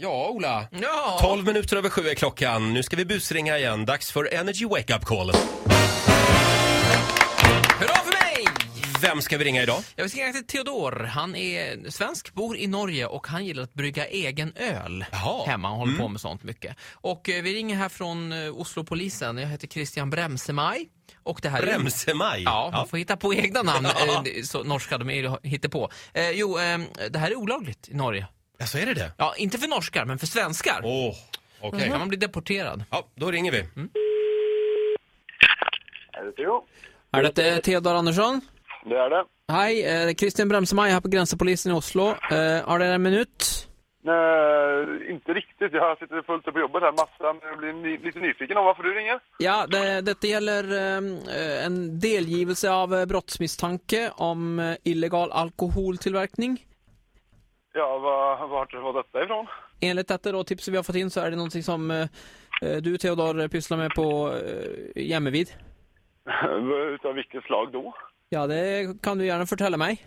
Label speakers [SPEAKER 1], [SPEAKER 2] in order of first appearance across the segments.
[SPEAKER 1] Ja, Ola.
[SPEAKER 2] Ja.
[SPEAKER 1] 12 minuter över sju är klockan. Nu ska vi busringa igen. Dags för Energy Wake Up Call.
[SPEAKER 2] Hurra för mig!
[SPEAKER 1] Vem ska vi ringa idag?
[SPEAKER 2] Jag vill skriva till Theodor. Han är svensk, bor i Norge och han gillar att brygga egen öl
[SPEAKER 1] Jaha. Mm.
[SPEAKER 2] hemma. Han håller på med sånt mycket. Och eh, vi ringer här från eh, Oslopolisen. Jag heter Christian Bremsemaj. Och det här är-
[SPEAKER 1] Bremsemaj.
[SPEAKER 2] Ja, man får hitta på egna namn. eh, Så norska de är ju hittar på. Eh, jo, eh, det här är olagligt i Norge.
[SPEAKER 1] Ja, så är det det?
[SPEAKER 2] Ja, inte för norskar, men för svenskar.
[SPEAKER 1] Åh, okej. Mm.
[SPEAKER 2] Kan man bli deporterad?
[SPEAKER 1] Ja, då ringer vi.
[SPEAKER 3] Jo,
[SPEAKER 2] Är det Theodor Andersson?
[SPEAKER 3] det är det.
[SPEAKER 2] Hej, eh, Christian Bremsemaj här på Gränspolisen i Oslo. Eh, har det en minut?
[SPEAKER 3] Nej, Eh, inte riktigt. Jag sitter fullt upp på jobbet här, massa. Men jag blir ny, lite nyfiken om varför du ringer.
[SPEAKER 2] Ja, det, detta gäller eh, en delgivelse av eh, brottsmisstanke om eh, illegal alkoholtillverkning.
[SPEAKER 3] Ja, var, vart har du fått detta ifrån?
[SPEAKER 2] Enligt detta då, tipset vi har fått in så är det någonting som eh, eh, du Theodor eh, pysslar med på eh, Jämmevid.
[SPEAKER 3] Utav vilket slag då?
[SPEAKER 2] Ja, det kan du gärna förtälla mig.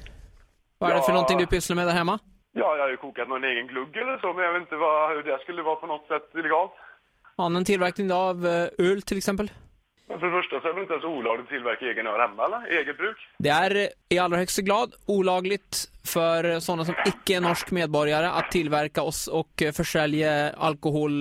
[SPEAKER 2] Vad är det för
[SPEAKER 3] Ja.
[SPEAKER 2] någonting du pysslar med där hemma?
[SPEAKER 3] Ja, jag har ju kokat någon egen glugg eller så, men jag vet inte vad, hur det skulle vara på något sätt illegalt.
[SPEAKER 2] Annan tillverkning då av eh, öl till exempel?
[SPEAKER 3] Men för det första så är det väl inte ens olagligt att tillverka egen öl hemma, eller? Eget bruk?
[SPEAKER 2] Det är eh, i allra högsta grad olagligt för eh, sådana som icke är norsk medborgare att tillverka oss och eh, försälja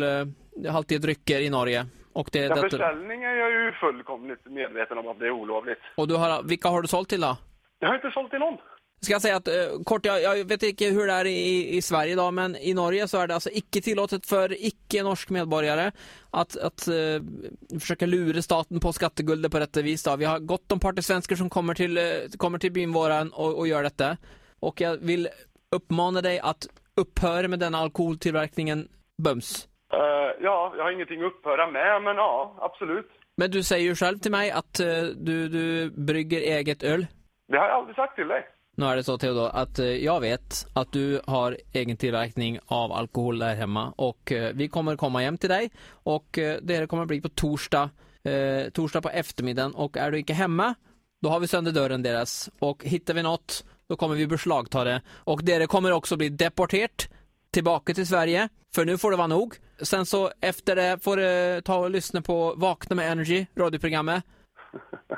[SPEAKER 2] alkoholhaltiga drycker i Norge. Och, det,
[SPEAKER 3] Ja,
[SPEAKER 2] det,
[SPEAKER 3] försäljning är jag ju fullkomligt medveten om att det är olovligt.
[SPEAKER 2] och du har, vilka har du sålt till då?
[SPEAKER 3] Jag har inte sålt till någon.
[SPEAKER 2] Ska jag säga att, eh, kort, jag, jag vet inte hur det är i, i Sverige idag, men i Norge så är det alltså icke tillåtet för icke norsk medborgare att, att eh, försöka lura staten på skatteguldet på detta vis. Då. Vi har gott om partysvenskar som kommer till, eh, kommer till byn våran och, och gör detta. Och jag vill uppmana dig att upphöra med denna alkoholtillverkningen bums.
[SPEAKER 3] Eh, ja, jag har ingenting att upphöra med, men ja, absolut.
[SPEAKER 2] Men du säger ju själv till mig att eh, du, du brygger eget öl.
[SPEAKER 3] Det har jag aldrig sagt till dig.
[SPEAKER 2] Nu är det så Theodor att eh, jag vet att du har egen tillverkning av alkohol där hemma och eh, vi kommer komma hem till dig och eh, det här kommer bli på torsdag, eh, torsdag på eftermiddagen och är du inte hemma då har vi sönder dörren deras och hittar vi något då kommer vi beslagta det och det kommer också bli deporterat tillbaka till Sverige för nu får det vara nog. Sen så efter det får du eh, ta och lyssna på Vakna med Energy, radioprogrammet.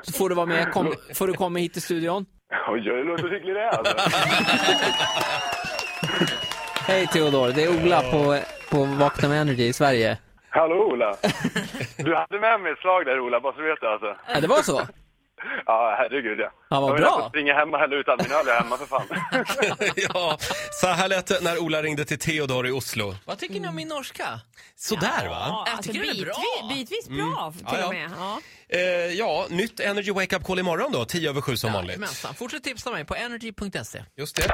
[SPEAKER 2] Så får du vara med, kom, får du komma hit till studion.
[SPEAKER 3] Oj, oj, låter hygglig det är alltså.
[SPEAKER 2] Hej Theodor, det är Ola på, på Vakna med Energy i Sverige.
[SPEAKER 3] Hallå Ola! Du hade med mig ett slag där Ola, bara så du vet det alltså.
[SPEAKER 2] Ja, det var så?
[SPEAKER 3] Ja, herregud ja.
[SPEAKER 2] Ja, vad
[SPEAKER 3] jag
[SPEAKER 2] bra.
[SPEAKER 3] Jag springa hem och hälla ut all min öl jag har hemma för fan.
[SPEAKER 1] ja, så här lät det när Ola ringde till Theodor i Oslo.
[SPEAKER 4] Vad tycker ni om min norska?
[SPEAKER 1] Sådär va?
[SPEAKER 4] Ja,
[SPEAKER 5] Jag
[SPEAKER 4] alltså,
[SPEAKER 5] tycker den är
[SPEAKER 4] bitvis,
[SPEAKER 5] bra.
[SPEAKER 4] bitvis bra
[SPEAKER 1] Ja,
[SPEAKER 5] Till
[SPEAKER 1] ja.
[SPEAKER 5] och med. Ja.
[SPEAKER 1] Eh, ja, nytt Energy Wake Up Call imorgon då, 10 över 7 som vanligt.
[SPEAKER 2] Jajamensan. Fortsätt tipsa mig på energy.se.
[SPEAKER 1] Just det.